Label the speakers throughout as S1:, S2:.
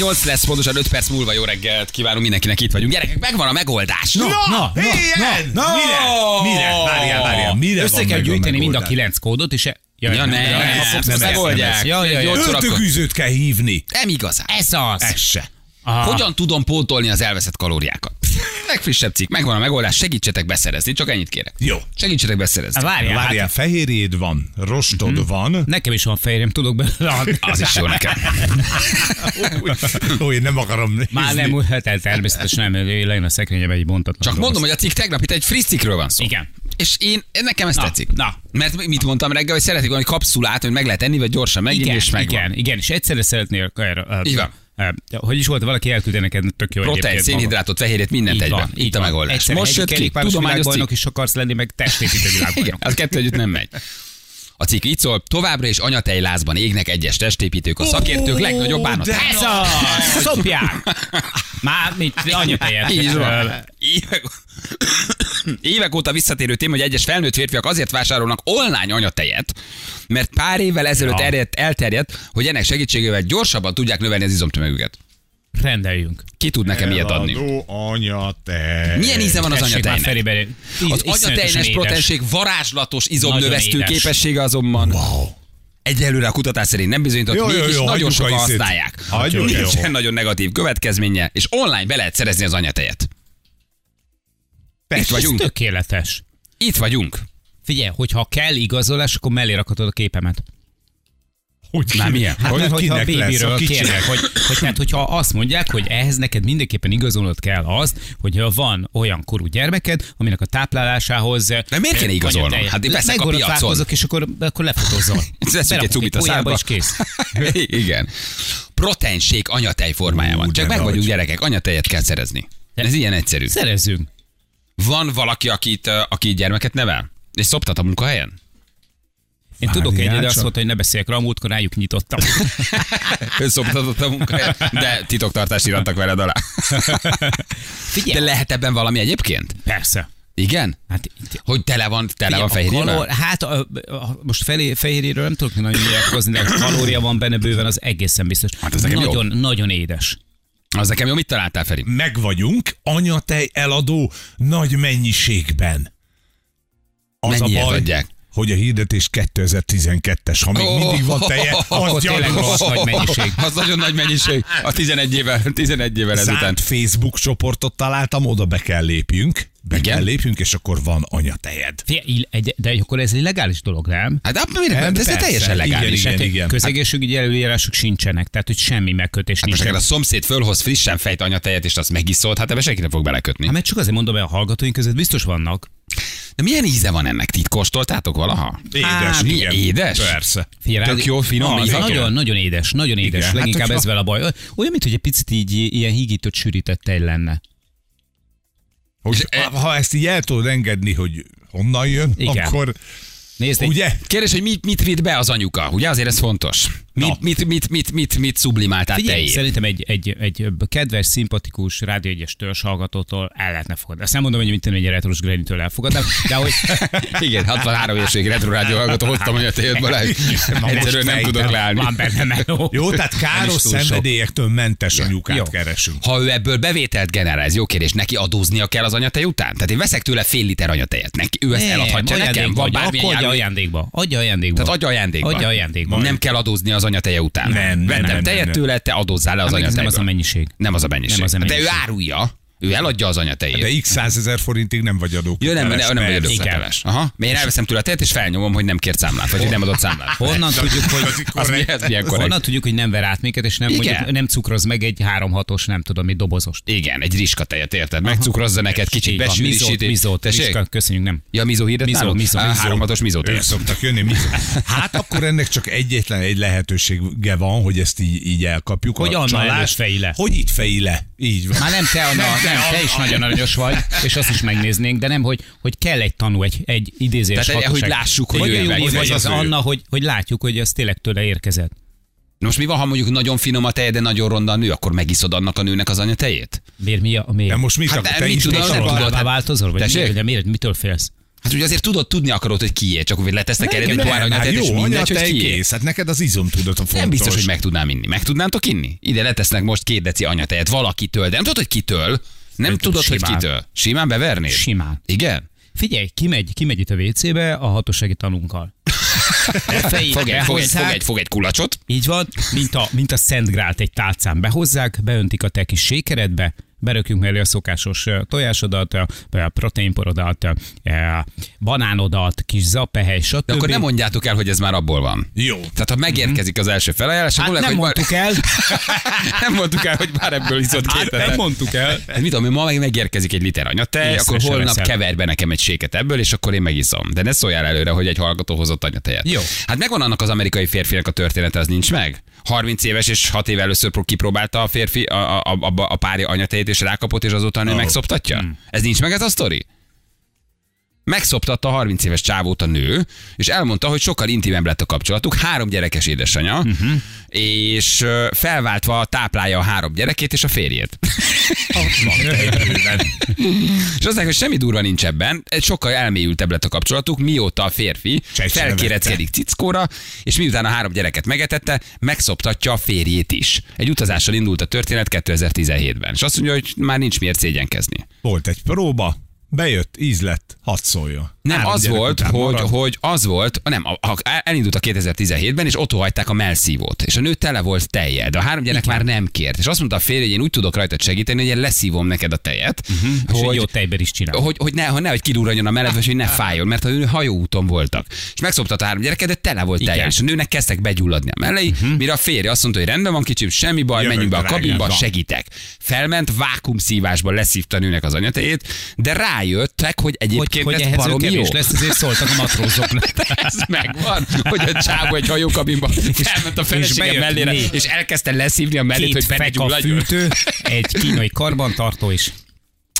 S1: 8 lesz, pontosan 5 perc múlva jó reggelt kívánunk mindenkinek, itt vagyunk. Gyerekek, megvan a megoldás.
S2: No, na, na,
S3: Ilyen!
S2: na, na, mire? Mire? Várjál, várjál, mire
S3: Össze
S2: van
S3: kell
S2: meg
S3: gyűjteni mind a
S2: megoldás?
S3: kilenc kódot, és... e- Jaj,
S1: Ja, ne,
S3: nem,
S1: nem,
S3: a
S1: ezt
S3: Fox
S1: nem,
S3: ezt
S1: megoldják.
S3: Ja, ja, ja.
S1: Nyolc órakor.
S2: Ördögűzőt kell hívni.
S1: Nem igazán.
S3: Ez az.
S2: Ez se.
S3: Aha.
S1: Hogyan tudom pótolni az elveszett kalóriákat? Legfrissebb cikk, megvan a megoldás, segítsetek beszerezni, csak ennyit kérek.
S2: Jó.
S1: Segítsetek
S3: Á,
S1: beszerezni.
S3: Várjál, hát
S2: Várjál, fehérjéd van, rostod van.
S3: nekem is van fehérjem, tudok belőle adni.
S1: Az is jó nekem.
S2: Ó, én nem akarom nézni.
S3: Már nem úgy, hát ez természetesen nem, lejön a szekrényem egy bontatlan.
S1: Csak mondom, hogy a cikk tegnap itt egy friss cikkről van szó.
S3: Igen.
S1: És én, nekem ez
S3: Na,
S1: tetszik.
S3: na.
S1: Mert mi- mit mondtam reggel, hogy szeretik valami kapszulát, hogy meg lehet enni, vagy gyorsan meginni,
S3: igen,
S1: és meg
S3: igen, igen, és egyszerre szeretnél... erre,
S1: Így van.
S3: eh, Hogy is volt, valaki elküldte neked, tök jó
S1: Protein,
S3: egyébként maga.
S1: szénhidrátot, fehérjét, mindent
S3: Így van,
S1: egyben.
S3: így
S1: Itt a
S3: van.
S1: megoldás.
S3: Egyszerre
S1: Most
S3: egy
S1: jött ki,
S3: kerékpáros
S1: tudományos cikk.
S3: világbajnok is akarsz lenni, meg testépítő
S1: Igen,
S3: világbajnok.
S1: az kettő együtt nem megy. A cikk így szól, továbbra is anyatejlázban égnek egyes testépítők, a szakértők legnagyobb bánat.
S3: Ez az! Szopják! Már mit, anyatejet.
S1: Így van.
S3: Ö,
S1: Évek, évek óta visszatérő téma, hogy egyes felnőtt férfiak azért vásárolnak online anyatejet, mert pár évvel ezelőtt
S3: Ja.
S1: erjedt, elterjedt, hogy ennek segítségével gyorsabban tudják növelni az izomtömegüket.
S3: Rendeljünk.
S1: Ki tud nekem ilyet adni?
S2: Eladó anya te.
S1: Milyen íze van az
S3: Tessék már
S1: anyatejnek?
S3: Feribe, íz-
S1: Az
S3: iszonyatosan
S1: anyatejnes
S3: édes.
S1: proteinség varázslatos izomnövesztő
S3: Nagyon édes.
S1: képessége azonban. Wow. Egyelőre a kutatás szerint nem bizonyított,
S2: Jó, jó,
S1: mégis
S2: jó,
S1: nagyon
S2: hagyjuk
S1: sokan
S2: a iszét.
S1: használják.
S2: Hagyjuk, jó.
S1: Nincsen nagyon negatív következménye, és online be lehet szerezni az anyatejet. Itt
S3: Ez
S1: vagyunk.
S3: tökéletes.
S1: Itt vagyunk.
S3: Figyelj, hogyha kell igazolás, akkor mellé rakhatod a képemet.
S2: Hogy
S1: Már milyen?
S3: Hát,
S2: Hogy
S3: mert hogyha a
S2: kinek lesz, a
S3: bébiről
S2: kicsinek?
S3: kérnek, hogy, hogy tehát, hogyha azt mondják, hogy ehhez neked mindenképpen igazolnod kell azt, hogy van olyan korú gyermeked, aminek a táplálásához...
S1: De miért kéne igazolnom? Hát én veszek a piacon.
S3: és akkor, akkor lefotózol.
S1: Veszünk egy
S3: Berakok
S1: cumit a
S3: pojába,
S1: számba.
S3: és kész.
S1: Igen. Proteinség anyatej formájában.
S2: Ú,
S1: Csak
S2: de
S1: meg
S2: nagy.
S1: vagyunk gyerekek, anyatejet kell szerezni. Ez ilyen egyszerű.
S3: Szerezzünk.
S1: Van valaki, akit, ö, aki gyermeket nevel? És szoptat a munkahelyen?
S3: Én tudok
S2: Várjál
S3: egyet, de azt
S2: csak.
S3: mondta, hogy ne beszéljek rá, a múltkor rájuk nyitottam.
S1: Ő szoptatott a munkahelyen, de titoktartást írtak veled alá. De
S3: Figyelj,
S1: lehet ebben valami egyébként?
S3: persze.
S1: Igen?
S3: Hát itt-
S1: Hogy tele van, tele
S3: Figyelj,
S1: van fehérjével?
S3: kalor- Hát a, a, most felé, fehérjéről nem tudok nagyon nyilatkozni, de kalória van benne bőven, az egészen biztos.
S1: Hát ez nekem jó.
S3: nagyon, nagyon édes.
S1: Az nekem jó, mit találtál, Feri?
S2: Meg vagyunk, anyatej eladó nagy mennyiségben. Az
S1: Mennyiért
S2: a baj,
S1: adják?
S2: hogy a hirdetés 2012-es, ha
S1: Oh.
S2: még mindig van teje,
S1: Akkor
S2: az
S3: tényleg
S2: gyanús.
S3: rossz. nagy mennyiség.
S1: Az nagyon nagy mennyiség. A 11 évvel, 11 évvel ezután.
S2: Zárt Facebook csoportot találtam, oda be kell lépjünk, be
S1: Igen?
S2: kell lépjünk, és akkor van anyatejed.
S3: Fie, ill- egy- De akkor ez egy legális dolog, nem?
S1: Hát de miért?
S2: Hát
S1: Ez
S2: persze,
S1: teljesen legális.
S2: Igen,
S3: Hát egy
S2: igen.
S3: Közegészségügyi előírások sincsenek, tehát hogy semmi megkötés
S1: Hát Most
S3: nincs.
S1: akár a szomszéd fölhoz frissen fejt anyatejet, és azt megiszolt, hát ebbe senki nem fog belekötni.
S3: Hát mert csak azért mondom, hogy a hallgatóink között biztos vannak.
S1: De milyen íze van ennek? Ti kóstoltátok valaha?
S2: Édes,
S3: Hát,
S1: mi
S2: igen.
S1: édes?
S2: Persze.
S3: Figyelj,
S1: Tök
S3: rád-
S1: jó, finom,
S3: Na,
S1: íze
S3: nagyon,
S1: kell.
S3: nagyon, édes, nagyon édes.
S2: Igen.
S3: Leginkább
S2: Hát,
S3: ez
S2: hogyha-
S3: vele a baj. Olyan, mint hogy egy picit így ilyen hígított, sűrített tej lenne.
S2: Hogy, ha ezt így el tudod engedni, hogy honnan jön,
S3: Igen.
S2: akkor
S3: Nézd, egy-
S2: ugye?
S1: Kérdés, hogy mit, mit vitt be az anyuka? Ugye azért ez fontos. Mit, mit, mit, mit, mit, mit szublimáltál
S3: Figyelj,
S1: te
S3: szerintem egy, egy, egy kedves, szimpatikus, rádió egyes törzs hallgatótól el lehetne fogadni. Azt nem mondom, hogy mint én egy retros Granny-től elfogadnám, de hogy...
S1: Igen, hát 63 éveség retro rádió hallgató, hoztam anyatejét, Balázs.
S2: most
S1: Egyszerűen nem
S2: fejtem.
S1: tudok leállni.
S3: Van benne meló.
S2: Jó, tehát káros
S3: túl sok.
S2: szenvedélyektől mentes anyukát
S3: Jó.
S2: keresünk.
S1: Ha ő ebből bevételt generál, ez jó kérdés, neki adóznia kell az anyatej után? Tehát én veszek tőle fél liter anyatejet, neki, ő ezt
S3: Nem,
S1: eladhatja
S3: ajándékba
S1: nekem, van
S3: adja,
S1: bármilyen
S3: Akkor adja
S1: jármű-
S3: ajándékba. Adja ajándékba.
S1: Tehát adja ajándékba.
S3: Adja ajándékba.
S1: Nem kell adózni az anyateje után.
S2: Nem, nem,
S1: Vettem
S2: nem,
S1: tejet
S2: nem, nem.
S1: tőle, te adózzál le az
S3: Hát meg ez
S1: anyatejből.
S3: nem az a mennyiség.
S1: Nem az a mennyiség.
S3: Nem az a
S1: De ő
S3: mennyiség.
S1: árulja, ő eladja az anyatejét.
S2: De x százezer forintig nem vagy adó.
S1: Jó, nem, nem, nem vagy
S3: persze.
S1: adószateles. Aha. Mert én elveszem tőle a tejet, és felnyomom, hogy nem kért számlát, vagy hogy nem adott számlát.
S3: Honnan tudjuk,
S2: az
S3: hogy...
S2: itt
S1: Az mi,
S2: korrekt.
S1: ez milyen korrekt?
S3: Honnan tudjuk, hogy nem ver át minket, és nem,
S1: Igen.
S3: mondjuk, nem cukroz meg egy 3-6-os, nem tudom, mi dobozost.
S1: Igen, egy riska tejet, érted? Megcukrozza neked, kicsit
S3: Így van, mizót,
S1: besűrűsíti.
S3: mizót,
S1: Tessék?
S3: Miska, köszönjük, nem.
S1: Ja, mizó hirdet
S3: Mizó,
S1: nálunk?
S3: mizó,
S1: Á,
S3: mizó.
S1: Háromhatos mizó
S2: Ők
S1: tejet.
S2: szoktak jönni. Mi? Hát akkor ennek csak egyetlen egy lehetősége van, hogy ezt így, így elkapjuk.
S3: Hogy
S2: a
S3: Anna
S2: csalást.
S3: előtt fej le.
S2: Hogy itt fej le. Így van.
S3: Már nem te, Anna, nem, nem, te is nagyon aranyos vagy, és azt is megnéznénk, de nem, hogy, hogy kell egy tanú, egy, egy idézés
S1: Tehát,
S3: hatóság.
S1: hogy lássuk, hogy
S3: vagy
S1: ő
S3: a Júli,
S1: meg-
S3: vagy
S2: ez
S3: az
S2: az ő.
S3: Anna, hogy, hogy látjuk, hogy ez tényleg tőle érkezett.
S1: Na most mi van, ha mondjuk nagyon finom a tej, de nagyon ronda a nő, akkor megiszod annak a nőnek az anyatejét?
S3: Miért mi a, mi?
S2: De most mit
S1: Hát
S2: akar?
S1: de
S2: Te
S1: mit
S2: is
S1: tudod,
S2: mit
S1: nem
S2: akarod?
S1: tudod.
S3: Tudod,
S1: hát-
S3: változol, vagy
S1: Tessék?
S3: miért, de miért, mitől félsz?
S1: Hát ugye azért tudod, tudni akarod, hogy kié, csak úgy letesznek erre, hogy
S2: hát
S1: anyatej, és
S2: jó,
S1: mindegy, hogy
S2: anyatej
S1: kié.
S2: kész. Hát neked az izom tudod a fontos.
S1: Nem biztos, hogy meg tudnám inni. Meg tudnátok inni? Ide letesznek most két deci anyatejet valakitől, de nem tudod, hogy kitől. Nem
S3: tudom,
S1: tudod, hogy
S3: simán.
S1: kitől. Simán bevernéd?
S3: Simán.
S1: Igen?
S3: Figyelj, kimegy, kimegy itt a WC-be a hatósági tanunkkal. A fejét
S1: Fog egy, fog, egy, fog,
S3: elhozzák,
S1: egy, fog egy kulacsot,
S3: Így van, mint a, mint a Szent Grált egy tálcán behozzák, beöntik a te kis sékeredbe, berökjünk mellé a szokásos ö, tojásodat, ö, a proteinporodat, ö, e, banánodat, kis zapehely, stb.
S1: de akkor nem mondjátok el, hogy ez már abból van.
S2: Jó.
S1: Tehát ha megérkezik az első felajánlás,
S3: Hát
S1: akkor lehet,
S3: nem
S1: hogy
S3: mondtuk el.
S1: Már... nem mondtuk el, hogy már ebből iszott két
S3: Hát nem
S1: hetet.
S3: mondtuk el.
S1: Hát mit tudom, én, ma meg megérkezik egy liter anyatej,
S3: Észre
S1: akkor
S3: se
S1: holnap
S3: veszem.
S1: kever be nekem egy séket ebből, és akkor én megiszom. De ne szóljál előre, hogy egy hallgató hozott anyatejet.
S3: Jó.
S1: Hát megvan annak az amerikai férfinek a története, az nincs meg? 30 éves és 6 éve először pró- kipróbálta a férfi a, a, a, a párja anyatejét, és rákapott, és azóta a nő megszoptatja?
S3: Hmm.
S1: Ez nincs meg ez a sztori? Megszoptatta a 30 éves csávót a nő, és elmondta, hogy sokkal intimebb lett a kapcsolatuk, három gyerekes édesanyja,
S3: Mhm.
S1: uh-huh. és ö, felváltva táplálja a három gyerekét és a férjét. És azt mondják, hogy semmi durva nincs ebben, egy sokkal elmélyültebb lett a kapcsolatuk, mióta a férfi
S2: Csecsemő
S1: felkéreckedik cickóra, és miután a három gyereket megetette, megszoptatja a férjét is. Egy utazással indult a történet 2017-ben, és azt mondja, hogy már nincs miért szégyenkezni.
S2: Volt egy próba, bejött, íz lett, hadd szóljon.
S1: Nem,
S2: Három
S1: az
S2: gyerek
S1: volt,
S2: után
S1: hogy,
S2: marad.
S1: hogy az volt, nem, a- a- elindult a 2017-ben, és otthon hagyták a melszívót, és a nő tele volt teje, de a három gyerek már nem kért. És azt mondta a férj, hogy én úgy tudok rajtad segíteni, hogy én leszívom neked a tejet,
S2: Mhm.
S3: És egy
S1: hogy,
S3: jó tejber is csinál.
S1: hogy, hogy ne, ha ne, hogy kidurranjon a meleg, vagy hogy ne fájjon, mert a nő hajóúton voltak. És megszoptat a három gyereket, de tele volt
S3: Igen. Mhm.
S1: teljesen. És a nőnek kezdtek begyulladni a mellei, uh-huh. mire a férje azt mondta, hogy rendben van kicsim, semmi baj,
S2: Jövök,
S1: menjünk be a
S2: drágám,
S1: kabinba,
S2: van.
S1: segítek. Felment, vákumszívásban leszívta a nőnek az anyatejét, de rájöttek, hogy
S3: hogy,
S1: egyébként
S3: hogy
S1: ez
S3: ehhez ő
S1: valami jó.
S3: kevés lesz, ezért szóltak a matrózoknak.
S1: Ez megvan, hogy a csávó egy hajókabinba felment a felesége
S3: bejött
S1: mellére,
S3: négy.
S1: és elkezdte leszívni a mellét,
S3: Két
S1: hogy
S3: feka
S1: begyulladjon.
S3: fűtő, egy kínai karbantartó is.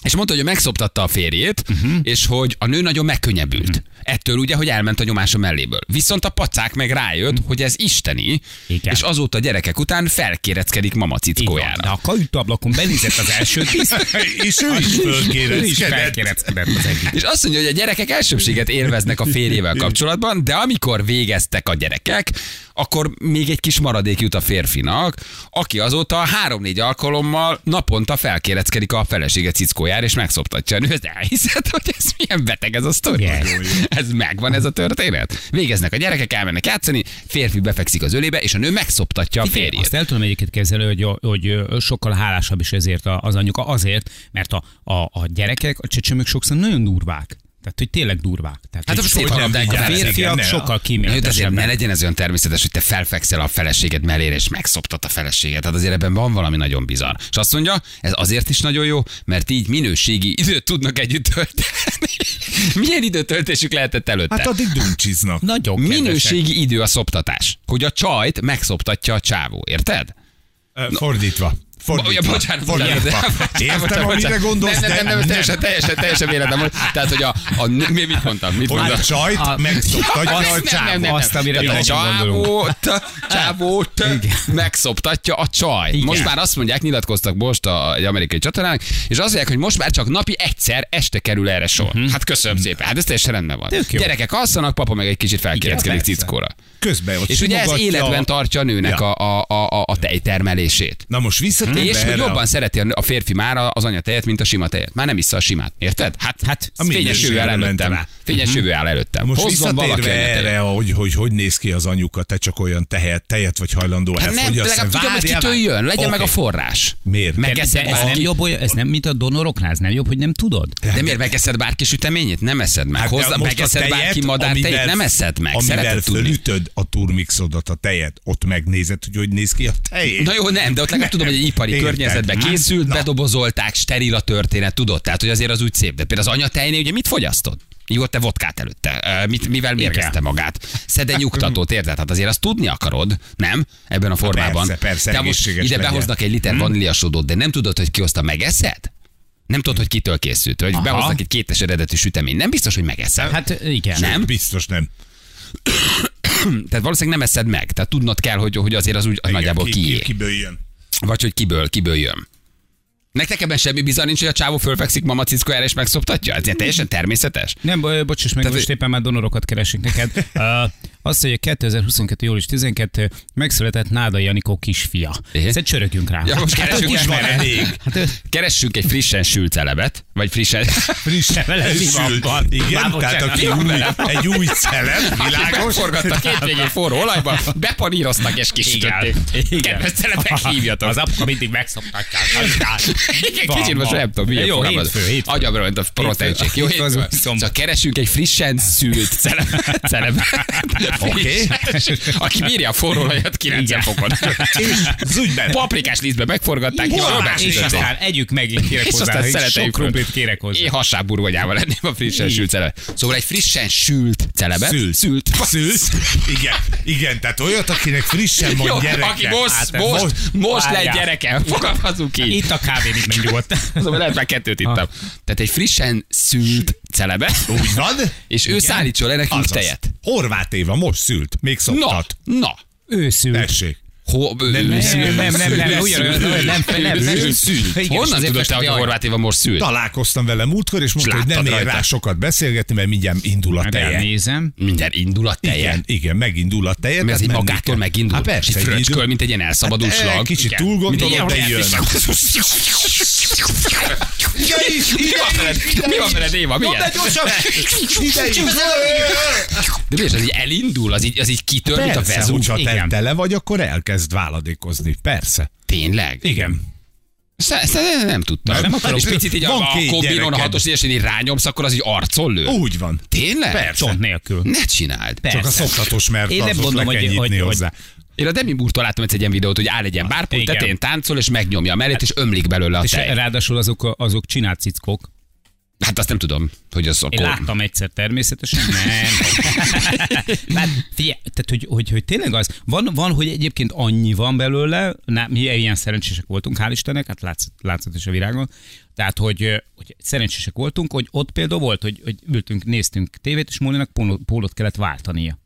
S1: És mondta, hogy ő megszoptatta a férjét, uh-huh. és hogy a nő nagyon megkönnyebbült. Uh-huh. Ettől ugye, hogy elment a nyomása melléből. Viszont a pacák meg rájött, uh-huh. hogy ez isteni,
S3: Igen.
S1: és azóta a gyerekek után felkéreckedik mama
S3: Így van. De
S1: cickójára.
S3: a kajutablakon benézett az első tíz,
S2: És ő is
S3: ő is
S2: fölkéreckedett.
S3: felkéreckedett az egyik.
S1: És azt mondja, hogy a gyerekek elsőbséget élveznek a férjével kapcsolatban, de amikor végeztek a gyerekek, akkor még egy kis maradék jut a férfinak, aki azóta három-négy alkalommal naponta felkéreckedik a felesége cickójára, és megszoptatja a nőt. Elhiszed, hogy ez milyen beteg ez a sztori?
S3: Igen.
S1: Ez megvan ez a történet? Végeznek a gyerekek, elmennek játszani, férfi befekszik az ölébe, és a nő megszoptatja a
S3: Figyelj,
S1: férjét.
S3: Azt el tudom egyébként kezelni, hogy, hogy ö, sokkal hálásabb is ezért a- az anyuka, azért, mert a, a, a gyerekek, a csecsemők sokszor nagyon durvák. Tehát, hogy tényleg durvák. Tehát,
S1: Hát
S3: hogy
S1: a szép
S3: sokkal-
S1: harmadikán
S3: a
S1: lesz,
S3: férfiak
S2: igen, ne.
S3: sokkal
S1: Jó, de azért ne
S3: kíméletesebbek.
S1: legyen ez olyan természetes, hogy te felfekszel a feleséged mellére, és megszoptat a feleséged. Tehát azért ebben van valami nagyon bizarr. És azt mondja, ez azért is nagyon jó, mert így minőségi időt tudnak együtt tölteni. Milyen időtöltésük lehetett előtte?
S2: Hát addig dumcsiznak.
S3: Nagyon kedvesek.
S1: minőségi idő a szoptatás. Hogy a csajt megszoptatja a csávó, érted?
S2: Ö, Fordítva.
S1: Ja,
S2: Fordítva.
S1: bocsánat, bocsánat.
S2: Fordítva. Értem, amire gondolsz,
S1: nem, nem, nem, nem, teljesen, teljesen, teljesen véletlen volt. Tehát, hogy a, a nő- mi, mit mondtam? Mit
S2: Hogy
S1: mondtam?
S2: a csajt
S3: A-
S2: megszoktatja
S1: Azt
S2: a csávó.
S3: Azt, amire
S1: Tehát a
S3: mi nem
S1: csávót, csávót megszoptatja a csaj.
S3: Igen.
S1: Most már azt mondják, nyilatkoztak most a, egy amerikai csatornának, és azt mondják, hogy most már csak napi egyszer este kerül erre sor.
S2: Mhm.
S1: Hát köszönöm szépen, hát ez teljesen rendben van.
S3: Tök jó.
S1: Gyerekek alszanak, papa meg egy kicsit felkéreckedik
S2: persze.
S1: cickóra.
S2: Közben ott
S1: És ugye ez
S2: simogatja
S1: életben
S2: a-
S1: tartja a nőnek
S2: Ja.
S1: a, a, a, a tejtermelését.
S2: Na most visszatérve
S1: És hogy
S2: erre a-
S1: jobban szereti a nő- a férfi már az anyatejet, mint a sima tejet. Már nem vissza a simát, érted? Hát,
S3: Hát,
S1: a fényes
S2: minőség
S1: jövő áll
S2: ment
S1: előttem.
S2: rá.
S1: Fényes jövő áll előttem.
S2: Mhm. Most
S1: Hozzon valaki
S2: visszatérve
S1: anyatejet. Hát
S2: erre, hogy, hogy hogy néz ki az anyuka, te csak olyan tehet, tejet vagy hajlandó
S1: Hát nem,
S2: elfogyasztani.
S1: legalább tudjam, hogy
S2: Várjál,
S1: kitől jön, legyen
S2: Oké.
S1: meg a forrás.
S2: Miért?
S1: Megeszed
S3: De ez nem
S1: bárki-
S3: jobb, olyan- ez nem, mint a donoroknál, ez nem jobb, hogy nem tudod?
S1: De miért megeszed bárki süteményét? Nem eszed meg.
S2: Hát de
S1: Hozzá,
S2: most a
S1: megeszed
S2: tejet,
S1: bárki madár
S2: amivel-
S1: tejét? Nem eszed meg.
S2: Amivel
S1: Szereted tudni.
S2: fölütöd a turmixodat, a tejet, ott megnézed, hogy hogy néz ki a tejét.
S1: Na jó, nem, de ott legalább tudom, hogy egy ipari
S2: Érted?
S1: környezetben
S2: Hát,
S1: készült,
S2: na.
S1: bedobozolták, steril a történet, tudod? Tehát, hogy azért az úgy szép. De például az anyatejnél ugye mit fogyasztod? Jó, te vodkát előtte. Ö, Mit, mivel mérgezte magát? Szed egy nyugtatót, érted? Hát azért azt tudni akarod, nem? Ebben a formában.
S2: Hát persze, persze,
S1: Te most ide
S2: egészséges legyen. Hm?
S1: behoznak egy liter vaníliasodót, de nem tudod, hogy ki hozta, megeszed? Nem tudod, hogy kitől készült, hogy
S3: Aha.
S1: behoznak egy kétes eredetű sütemény. Nem biztos, hogy megeszed.
S3: Hát igen.
S1: Nem? Hát
S2: Biztos nem.
S1: Tehát valószínűleg nem eszed meg. Tehát tudnod kell, hogy, hogy azért az úgy nagyjából
S2: ki,
S1: kié.
S2: ki, kiből jön.
S1: Vagy hogy kiből, kiből jön. Nektek ebben semmi bizarr nincs, hogy a csávó fölfekszik mama cickójára és megszoptatja? Ez ilyen teljesen természetes.
S3: Nem, bo- bocs, és meg
S1: Tehát,
S3: most éppen már donorokat keresünk neked. Uh, azt, hogy a 2022. július 12 megszületett Náda Janikó kisfia.
S1: Igen.
S3: Ezt csörögjünk rá. Hát,
S1: Ja, most keresünk
S3: hogy
S1: is van
S3: ismered.
S1: elég.
S3: Hát, ő-
S1: Keressünk egy frissen sült celebet, vagy frissen...
S2: Friss
S3: vele mi van,
S2: sült.
S3: van? Már
S2: Igen,
S3: bocsánat,
S2: tehát aki
S1: mi van
S2: új,
S1: vele?
S2: egy új celeb,
S1: Hát,
S2: világos.
S1: Forgattak két végén forró olajba, bepaníroztak és kisütötték.
S3: Igen.
S1: Kedves celebek, hívjatok.
S3: Az apka mindig megszoktatják.
S1: Igen,
S3: Van,
S1: kicsit most
S3: van.
S1: nem tudom, milyen
S3: Jó,
S1: fogalmaz.
S3: hétfő, hétfő.
S1: Agyamra ment a proteincsek. Jó,
S3: Hétfő az
S1: hétfő.
S3: új szombat.
S1: Szóval keresünk egy frissen szült celeb. celeb.
S2: Oké.
S1: Aki bírja a forró olajat 90 fokon.
S2: Zügyben.
S1: Paprikás lisztbe megforgatták, és arra
S3: És
S1: besütötték.
S3: aztán együk meg, én kérek
S1: És
S3: hozzá.
S1: aztán
S3: hogy
S1: szereteljük
S3: Sok
S1: föl.
S3: krumplit kérek
S1: Én
S3: hozzá.
S1: hassá burgonyával lenném a frissen sült celebet. Szóval egy frissen sült celebet.
S2: Szült.
S1: Szült.
S2: Szült. Igen, igen, tehát olyat, akinek frissen
S1: Jó,
S2: van gyereke.
S1: aki most,
S3: Hát,
S1: most,
S2: most-
S1: most lett
S3: várjál.
S1: gyerekem, fogalmazunk így.
S3: Itt a kávé még megnyugodt.
S1: Azonban lehet már kettőt ittam. Tehát egy frissen szült celebe,
S2: Úgy van?
S1: és ő szállítson le nekünk
S2: Azaz.
S1: tejet.
S2: Horváth Éva most szült, még
S1: Na,
S2: szoktat.
S1: na.
S3: Őszül.
S2: Tessék.
S1: Ho, nem,
S3: nem, nem, nem, nem, ugyanolyan, nem, nem, nem, nem, Igen,
S1: Honnan
S3: és
S1: tudod te, hogy a
S3: tudod,
S1: horvát Éva most szült?
S2: Találkoztam vele múltkor, és mondta,
S1: És
S2: hogy nem
S1: láttad
S2: ér rá
S1: rajta.
S2: sokat beszélgetni, mert mindjárt indul a
S3: Hát
S2: teje.
S3: elnézem.
S1: Minden indulat
S2: Igen,
S1: teje.
S2: igen, megindul a teje.
S1: Mi az
S2: tehát
S1: így
S2: menni kell.
S1: magától megindul?
S2: Hát
S1: És így
S2: persze, egy
S1: fröcsköl,
S2: idő-
S1: mint egy ilyen elszabadult
S2: Hát,
S1: slag.
S2: egy kicsit
S1: Igen.
S2: túl
S1: Mint egy ilyen
S2: gondolod, de jön.
S1: Mi van veled? Mi van veled, Éva? Milyen? De mi az, az így elindul? Az így, az így kitör, mint a
S2: Hát Persze,
S1: vezú?
S2: hogyha te
S3: Igen.
S2: tele vagy, akkor elkezd váladékozni. Persze.
S1: Tényleg?
S2: Igen.
S1: Ezt nem, nem tudtam.
S2: Nem akarom.
S1: és picit így
S2: Van
S1: a, a
S2: két
S1: kombinon a
S2: gyereked.
S1: hatos és így rányomsz, akkor az így arcon lő.
S2: Úgy van.
S1: Tényleg?
S3: Csont nélkül.
S1: Ne csináld.
S3: Persze.
S2: Csak a szoktatós, mert
S3: Én nem
S2: azot
S3: mondom,
S2: le kell
S3: hogy-
S2: nyitni
S3: hogy- hogy-
S2: hozzá.
S1: Én a Demi Burtól láttam egyszer egy ilyen videót, hogy áll egy ilyen bárpult
S3: Igen.
S1: tetején, táncol, és megnyomja a mellét, és ömlik belőle a
S3: És
S1: tej.
S3: ráadásul azok, azok csinált cickók.
S1: Hát azt nem tudom, hogy az
S3: Én
S1: akkor...
S3: láttam egyszer természetesen, nem. Már figyelj, tehát hogy, hogy, hogy tényleg az, van, van, hogy egyébként annyi van belőle, na, mi ilyen szerencsések voltunk, hál' Istennek, hát látsz, látszott is a virágon, tehát hogy, ö, hogy szerencsések voltunk, hogy ott például volt, hogy, hogy ültünk, néztünk tévét, és Mólinak póló- pólót kellett váltania.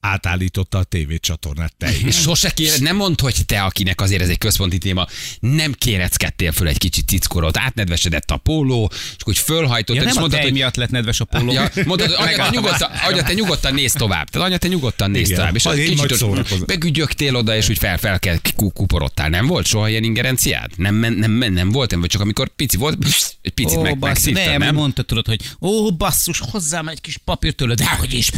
S2: Átállította a tévécsatornát teljesen.
S1: És sose kéred, nem mondd, hogy te, akinek azért ez egy központi téma, nem kéreckedtél föl egy kicsit cickorot, átnedvesedett a póló, és úgy fölhajtottad,
S3: Ja,
S1: és
S3: nem a
S1: mondtad,
S3: tej
S1: hogy
S3: miatt lett nedves a póló.
S1: Ja, mondod, hogy anya, te
S3: Megálltam.
S1: nyugodtan, anya, te nyugodtan néz tovább. Tehát anya, te nyugodtan néz
S2: Igen.
S1: tovább. És
S2: Ha,
S1: az
S2: én
S1: kicsit
S2: majd
S1: ott
S2: szórakozom.
S1: begügyögtél oda, és úgy fel, fel kell ku- kuporodtál. Nem volt soha ilyen ingerenciád? Nem, men, nem, men, nem volt, nem, vagy csak amikor pici volt, egy picit
S3: Ó,
S1: meg,
S3: basszus,
S1: megszívtad,
S3: nem,
S1: nem?
S3: mondta, tudod, hogy ó, basszus, hozzám egy kis papírtől, de hogy is.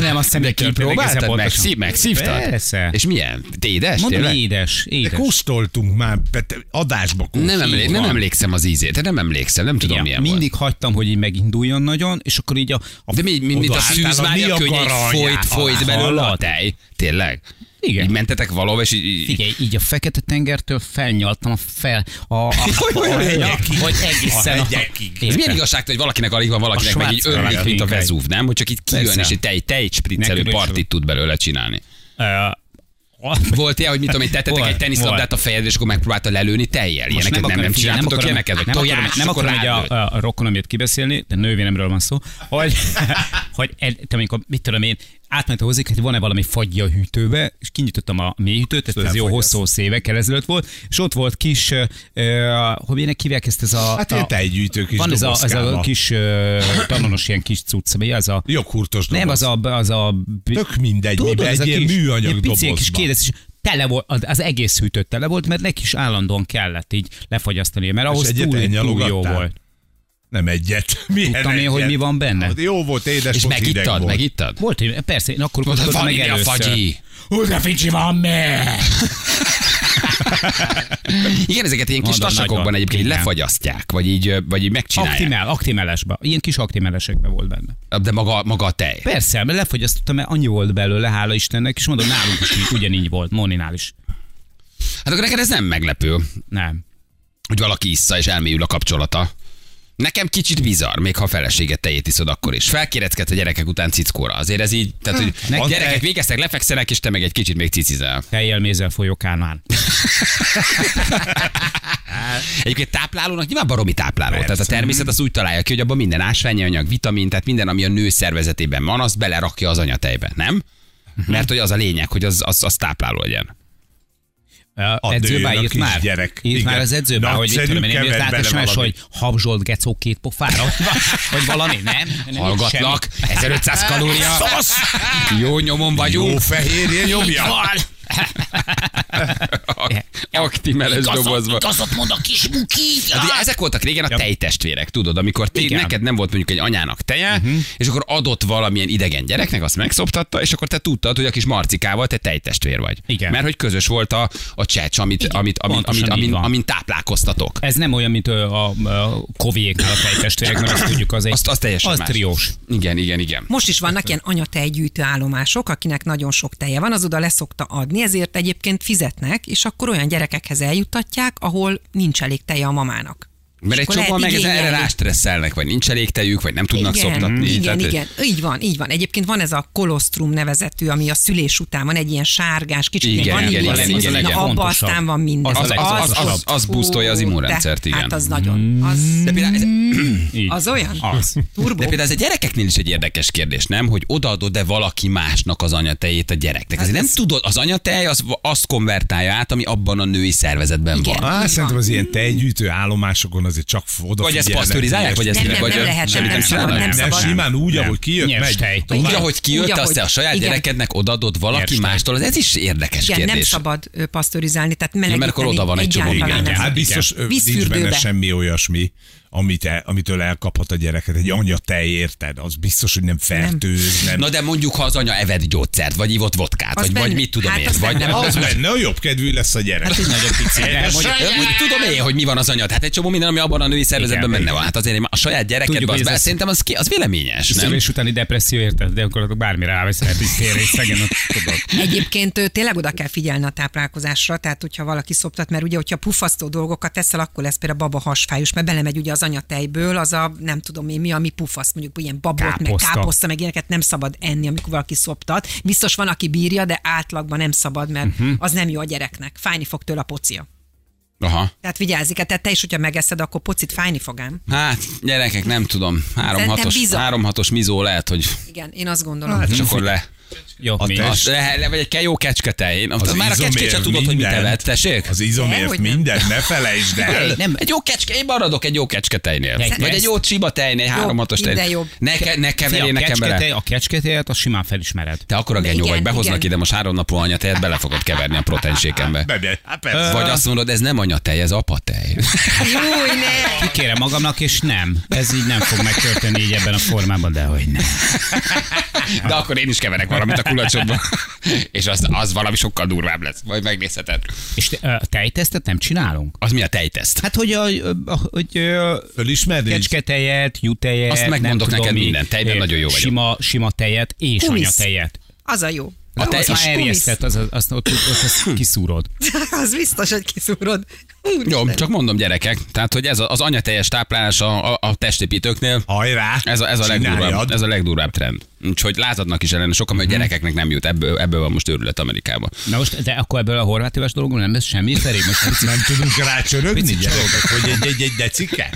S3: nem, azt hiszem,
S1: De
S3: hogy kipróbáltad
S1: kipróbáltad, meg, szív, meg szívtad?
S3: Persze.
S1: És milyen? Tédes?
S3: Mondom,
S1: tényleg?
S3: édes, édes.
S2: Kóstoltunk már, bet- adásba kóstoltunk. Hát
S1: Nem, emlé- nem emlékszem az ízét, nem emlékszem, nem tudom
S3: Ja,
S1: milyen volt.
S3: mindig hagytam, hogy így meginduljon nagyon, és akkor így a... a
S1: De mi, mi, mint a
S2: Odaálltál a
S1: szűzmája
S2: Niagara
S1: könnyei folyt,
S2: alján.
S1: folyt belőle a
S3: Hallod?
S1: tej. Tényleg?
S3: Igen.
S1: Így mentetek valahova, és így- így,
S3: Figyelj, így a fekete tengertől felnyaltam a fel... A, a, a, a,
S2: hegyekig.
S3: hogy egészen
S2: A hegyekig.
S1: Ez milyen igazság, hogy valakinek alig van, valakinek
S3: A
S1: meg így
S3: Svájc
S1: ömlik,
S3: találja
S1: mint a
S3: minket.
S1: Vezúv, nem? Hogy csak itt kijön,
S3: Persze.
S1: és egy tej, tej spriccelő
S3: Neked is
S1: partit tud belőle csinálni.
S3: Ö,
S1: Volt ilyen, hogy mit tudom én, tettetek
S3: Volt,
S1: egy teniszlabdát
S3: volt.
S1: a fejedre, és akkor megpróbálta lelőni tejjel. Ilyeneket nem, nem
S3: figyelj,
S1: csináltatok ilyeneket, vagy
S3: nem akarom,
S1: tojás,
S3: nem
S1: akkor
S3: akarom hogy a,
S1: rálőtt.
S3: a, a rokonomért kibeszélni, de nővéremről van szó, hogy, hogy el, te amikor, mit tudom én, átment hozzá, hogy van-e valami fagyja a hűtőbe, és kinyitottam a mélyhűtőt, ez, ez jó
S2: lefagyaszt.
S3: hosszú hosszú évekkel ezelőtt volt, és ott volt kis, ö, ö, hogy minek hívják ezt ez a...
S2: Hát
S3: a,
S2: ilyen tejgyűjtő kis
S3: van ez a, ez a
S2: dobozkába.
S3: kis ö, tanonos ilyen kis cucc, mi az a...
S2: Joghurtos doboz.
S3: Nem, az a... Az a
S2: Tök mindegy, miben,
S3: ez
S2: egy
S3: a
S2: ilyen
S3: kis-
S2: műanyag
S3: ilyen pici kis
S2: dobozban.
S3: kérdez, és tele volt, az- az egész hűtő tele volt, mert neki is állandóan kellett így lefagyasztani, mert ahhoz
S2: egyet
S3: túl, túl jó
S2: elnyalogattál?
S3: volt.
S2: Nem egyet. Milyen
S3: Tudtam én,
S2: egyet?
S3: hogy mi van benne.
S2: Hát Jó volt, édes
S1: És
S2: volt, hideg
S1: megittad,
S2: volt.
S1: megittad?
S3: Volt, hogy persze, én akkor
S1: Mondtad,
S3: kóstoltam
S1: van
S3: meg
S1: ide a
S3: először.
S1: fagyi.
S3: Húzza ficsi van meg!
S1: Igen, ezeket ilyen kis
S3: Mondom,
S1: tasakokban
S3: nagyon.
S1: egyébként
S3: Igen.
S1: lefagyasztják, vagy így, ö, vagy így megcsinálják.
S3: Aktimel, aktimelesbe. Ilyen kis aktimelesekben volt benne.
S1: De maga, maga a tej.
S3: Persze, mert lefogyasztottam, mert annyi volt belőle, hála Istennek, és mondom, nálunk is így, ugyanígy volt, Moninál is.
S1: Hát akkor neked ez nem meglepő,
S3: Nem.
S1: hogy valaki issza és elmélyül a kapcsolata. Nekem kicsit bizarr, még ha a feleséget tejét iszod akkor is. Felkéreckedsz a gyerekek után cickóra. Azért ez így, tehát hogy
S3: Nek-
S1: gyerekek végeztek, lefekszenek, és te meg egy kicsit még cicizál.
S3: Tejjel mézzel folyókánál.
S1: Egyébként táplálónak nyilván baromi tápláló. Tehát a természet az úgy találja ki, hogy abban minden ásványi anyag, vitamin, tehát minden, ami a nő szervezetében van, azt belerakja az anyatejbe, nem? Mert hogy az a lényeg, hogy az, az, az tápláló legyen.
S3: A edzőbe
S2: nőnek
S3: írt
S2: is
S3: már?
S2: gyerek.
S3: Írt
S2: Igen.
S3: már az edzőbe, hogy mit
S2: Nagyszerű,
S3: tudom én, én
S2: keverd
S3: írt
S2: bele
S3: SMS,
S2: valamit.
S3: hogy habzsolt gecó két pofára, vagy va- vagy valami, nem? nem
S1: Hallgatlak, 1500 kalória. Jó nyomon vagyunk.
S2: Jó fehérje nyomja.
S1: Aktimeles dobozba.
S3: Igazat mond a kis buki.
S1: Hát ugye ezek voltak régen a tejtestvérek, tudod, amikor te,
S3: Igen. Mhm.
S1: neked nem volt mondjuk egy anyának teje, uh-huh. és akkor adott valamilyen idegen gyereknek, azt megszoptatta, és akkor te tudtad, hogy a kis marcikával te tejtestvér vagy.
S3: Igen.
S1: Mert hogy közös volt a, a csecs, amit,
S3: Igen,
S1: amit, amit,
S3: pontosan
S1: amit,
S3: így
S1: amin,
S3: van.
S1: amin táplálkoztatok.
S3: Ez nem olyan, mint ö, a, a kovéknál a fejtestvérek, mert azt tudjuk, az egy...
S1: Azt, az teljesen
S3: az
S1: más.
S3: triós.
S1: Igen, igen, igen.
S4: Most is vannak ilyen anyatejgyűjtő állomások, akinek nagyon sok teje van, az oda leszokta adni, ezért egyébként fizetnek, és akkor olyan gyerekekhez eljuttatják, ahol nincs elég teje a mamának.
S1: Mert
S4: És
S1: egy
S4: akkor
S1: csomóan
S4: lehet
S1: meg ezen- erre
S4: igényelni.
S1: rástresszelnek, vagy nincs elég tejük, vagy nem tudnak
S4: igen,
S1: szoptatni.
S4: Igen,
S1: Tehát-
S4: igen, így van, így van. Egyébként van ez a kolostrum nevezetű, ami a szülés után van, egy ilyen sárgás, kicsit
S1: Igen,
S4: ilyen
S1: igen,
S4: vaníliás
S1: igen,
S4: ízű.
S1: igen, igen.
S4: Na, abba
S3: Fontosabb.
S4: aztán van minden.
S1: Az- az-
S3: az- az-
S1: az boostolja az
S4: Ú,
S1: immunrendszert,
S4: de,
S1: igen.
S4: Hát az nagyon. Az,
S1: De például, ez,
S3: Így.
S4: az olyan?
S3: Az.
S1: de például ez a gyerekeknél is egy érdekes kérdés, nem? Hogy odaadod-e valaki másnak az anyatejét a
S4: Hát
S1: gyereknek? Ezért nem tudod, az anyatej az, azt konvertálja át, ami abban a női szervezetben
S4: Igen.
S1: van.
S2: Á,
S4: Így
S2: szerintem
S4: van.
S2: az ilyen tejgyűjtő állomásokon azért csak
S1: Vagy
S2: odafigyelnek.
S1: ezt pasztörizálják, vagy ezt
S4: Nem, nem,
S1: vagy
S4: nem
S1: a-
S4: lehet,
S1: semmit nem
S4: nem, nem szabad,
S1: csinálnak?
S4: nem
S2: Nem,
S4: szabad.
S2: simán úgy, ahogy kijött,
S3: Nyers
S2: megy.
S3: tej.
S2: tovább.
S1: Úgy, ahogy kijött,
S4: Úgy,
S1: azt
S4: ahogy-
S1: te a saját
S4: igen.
S1: gyerekednek odadod valaki
S3: Nyers tej.
S1: mástól, az ez is érdekes
S4: Igen,
S1: kérdés.
S4: nem szabad ö, pasztörizálni, tehát melegíteni.
S1: mert akkor oda van egy csomó
S4: egyáltalán
S1: igen.
S4: nem
S2: Hát
S4: szabad.
S2: biztos ö, nincs benne
S4: Vízfürdőbe.
S2: semmi olyasmi, amit el, amitől elkaphat a gyereket. Egy anya tej, érted? Az biztos, hogy nem fertőz, nem.
S1: Na de mondjuk, ha az anya evett gyógyszert, vagy ivott vodkát,
S4: Az
S1: vagy, vagy
S4: benne-
S1: mit tudom
S4: hát
S1: én,
S4: az
S1: vagy
S4: benne
S1: nem.
S4: van.
S2: az lenne, a jobb kedvű lesz a gyerek.
S3: Egy nagyon pici. de
S1: Hogy,
S3: mondjuk-
S1: úgy tudom én, hogy mi van az anyad. Hát egy csomó minden, ami abban a női szervezetben
S3: Igen,
S1: benne van. Hát azért én a saját
S3: Tudjuk,
S1: gyerekedben az,
S3: hogy ez
S1: be-
S3: az-
S1: szerintem az, ki- az véleményes, nem?
S3: Szülés utáni depresszió érted, de akkor bármire ráveszel, hogy félre és szegen, tudod.
S4: Egyébként ö, tényleg oda kell figyelni a táplálkozásra, tehát hogyha valaki szoptat, mert ugye, hogyha pufasztó dolgokat teszel, akkor lesz például baba hasfájus, mert belemegy ugye az anyatejből, az a nem tudom én mi, ami pufaszt, mondjuk ilyen babot,
S3: Káposzta.
S4: meg káposzta, meg ilyeneket nem szabad enni, amikor valaki szoptat. Biztos van, aki bírja, de átlagban nem szabad, mert
S1: Mhm.
S4: uh-huh. az nem jó a gyereknek. Fájni fog tőle a pocia.
S1: Aha.
S4: Tehát vigyázzik, tehát te is, hogyha megeszed, akkor pocit fájni fog ám.
S1: Hát, gyerekek, nem tudom.
S4: Szerintem
S1: 3-6-os,
S4: biza.
S1: 3-6-os mizó lehet, hogy
S4: Igen, én azt gondolom.
S1: Hát, és akkor le.
S3: Jó, mi?
S2: test-
S1: Az, le, le, vagy egy ke- jó kecsketej. Én- Már a kecskét sem
S2: izomért
S1: tudod, hogy mit
S2: mindent-
S1: evett, tessék?
S2: Az izomért
S4: Dehogy nem.
S2: minden, ne felejtsd el.
S1: Egy- Nem, egy jó kecske, én maradok egy jó kecsketejnél.
S3: Egy
S1: Vagy egy
S3: ezt-
S1: jó csiba tejnél, egy három hatos
S4: minden
S1: tejnél.
S4: jobb.
S1: Ne, ke, ne
S3: Fia,
S1: keverjél
S3: a
S1: nekem bele.
S3: kecsketej- a kecsketejet, azt simán felismered.
S1: Te akkor a genyó
S4: Igen,
S1: vagy, behoznak
S4: igen.
S1: ide most három napú anyatejet, bele fogod keverni a proteinsékembe.
S2: Bebe, hát persze.
S1: Vagy azt mondod, ez nem anyatej, ez apatej.
S4: Júj, ne!
S3: Kikérem magamnak, és nem. Ez így nem fog megtörténni így ebben a formában, de hogy nem.
S1: De akkor én is keverek valamit a kulacsodba. És az, az valami sokkal durvább lesz. Majd megnézheted.
S3: És te, a tejtesztet nem csinálunk?
S1: Az mi a tejteszt?
S3: Hát, hogy a, a, hogy a
S2: Fölismerni?
S3: kecsketejet, jutejet,
S1: Azt megmondok
S3: nem tudom
S1: neked
S3: mi.
S1: mindent. Tejben
S3: Én
S1: nagyon jó vagyok.
S3: Sima, sima tejet és
S4: Kumisz.
S3: anyatejet.
S4: Az a jó.
S1: A tej-
S3: az már
S1: és
S3: erjesztett, az, az, azt ott, ott,
S1: Hm.
S3: azt kiszúrod.
S4: Az biztos, hogy kiszúrod.
S1: Jó, csak mondom gyerekek, tehát hogy ez a, az anyateljes táplálás a, a, a testépítőknél,
S2: Hajrá!
S1: ez a, ez, a
S2: Csináljad.
S1: legdurvább, ez a legdurvább trend. Úgyhogy lázadnak is ellen, sokan, mert a gyerekeknek nem jut, ebből, ebből van most őrület Amerikában.
S3: Na most, de akkor ebből a horvát éves dologból nem lesz semmi felé? Most egy
S2: Nem tudunk rácsörögni
S3: Picit
S2: gyerekek, hogy egy, egy, egy decike?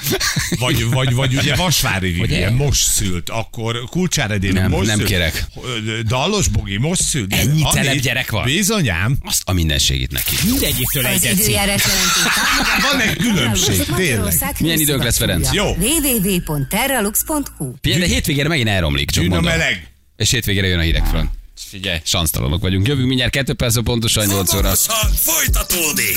S2: Vagy, vagy, vagy ugye Vasvári Vivien,
S3: Hogy-
S2: most szült, akkor Kulcsára Déna,
S1: Nem,
S2: most
S1: nem
S2: szült.
S1: kérek.
S2: Ö, Dallos Bogi, most szült.
S1: Ennyi
S2: Anni,
S1: celeb gyerek van?
S2: Bizonyám.
S1: Azt a mindenségét neki.
S3: mindegyiktől egy
S5: Az
S3: deci.
S5: időjárás jelentést támogatja
S2: Van egy különbség,
S5: Terralux
S2: tényleg.
S5: Magyarország
S1: Milyen időnk lesz, Ferenc?
S5: hőszivattyúja.
S2: Jó.
S5: www.terralux.hu
S1: Figyelj, de hétvégére megint elromlik, csak
S2: Jön a
S1: mondom.
S2: meleg.
S1: És hétvégére jön a hidegfront. Figyelj, sansztalanok vagyunk. Jövünk mindjárt kettő perc, pontosan 8 óra.
S6: Hamarosan folytatódik.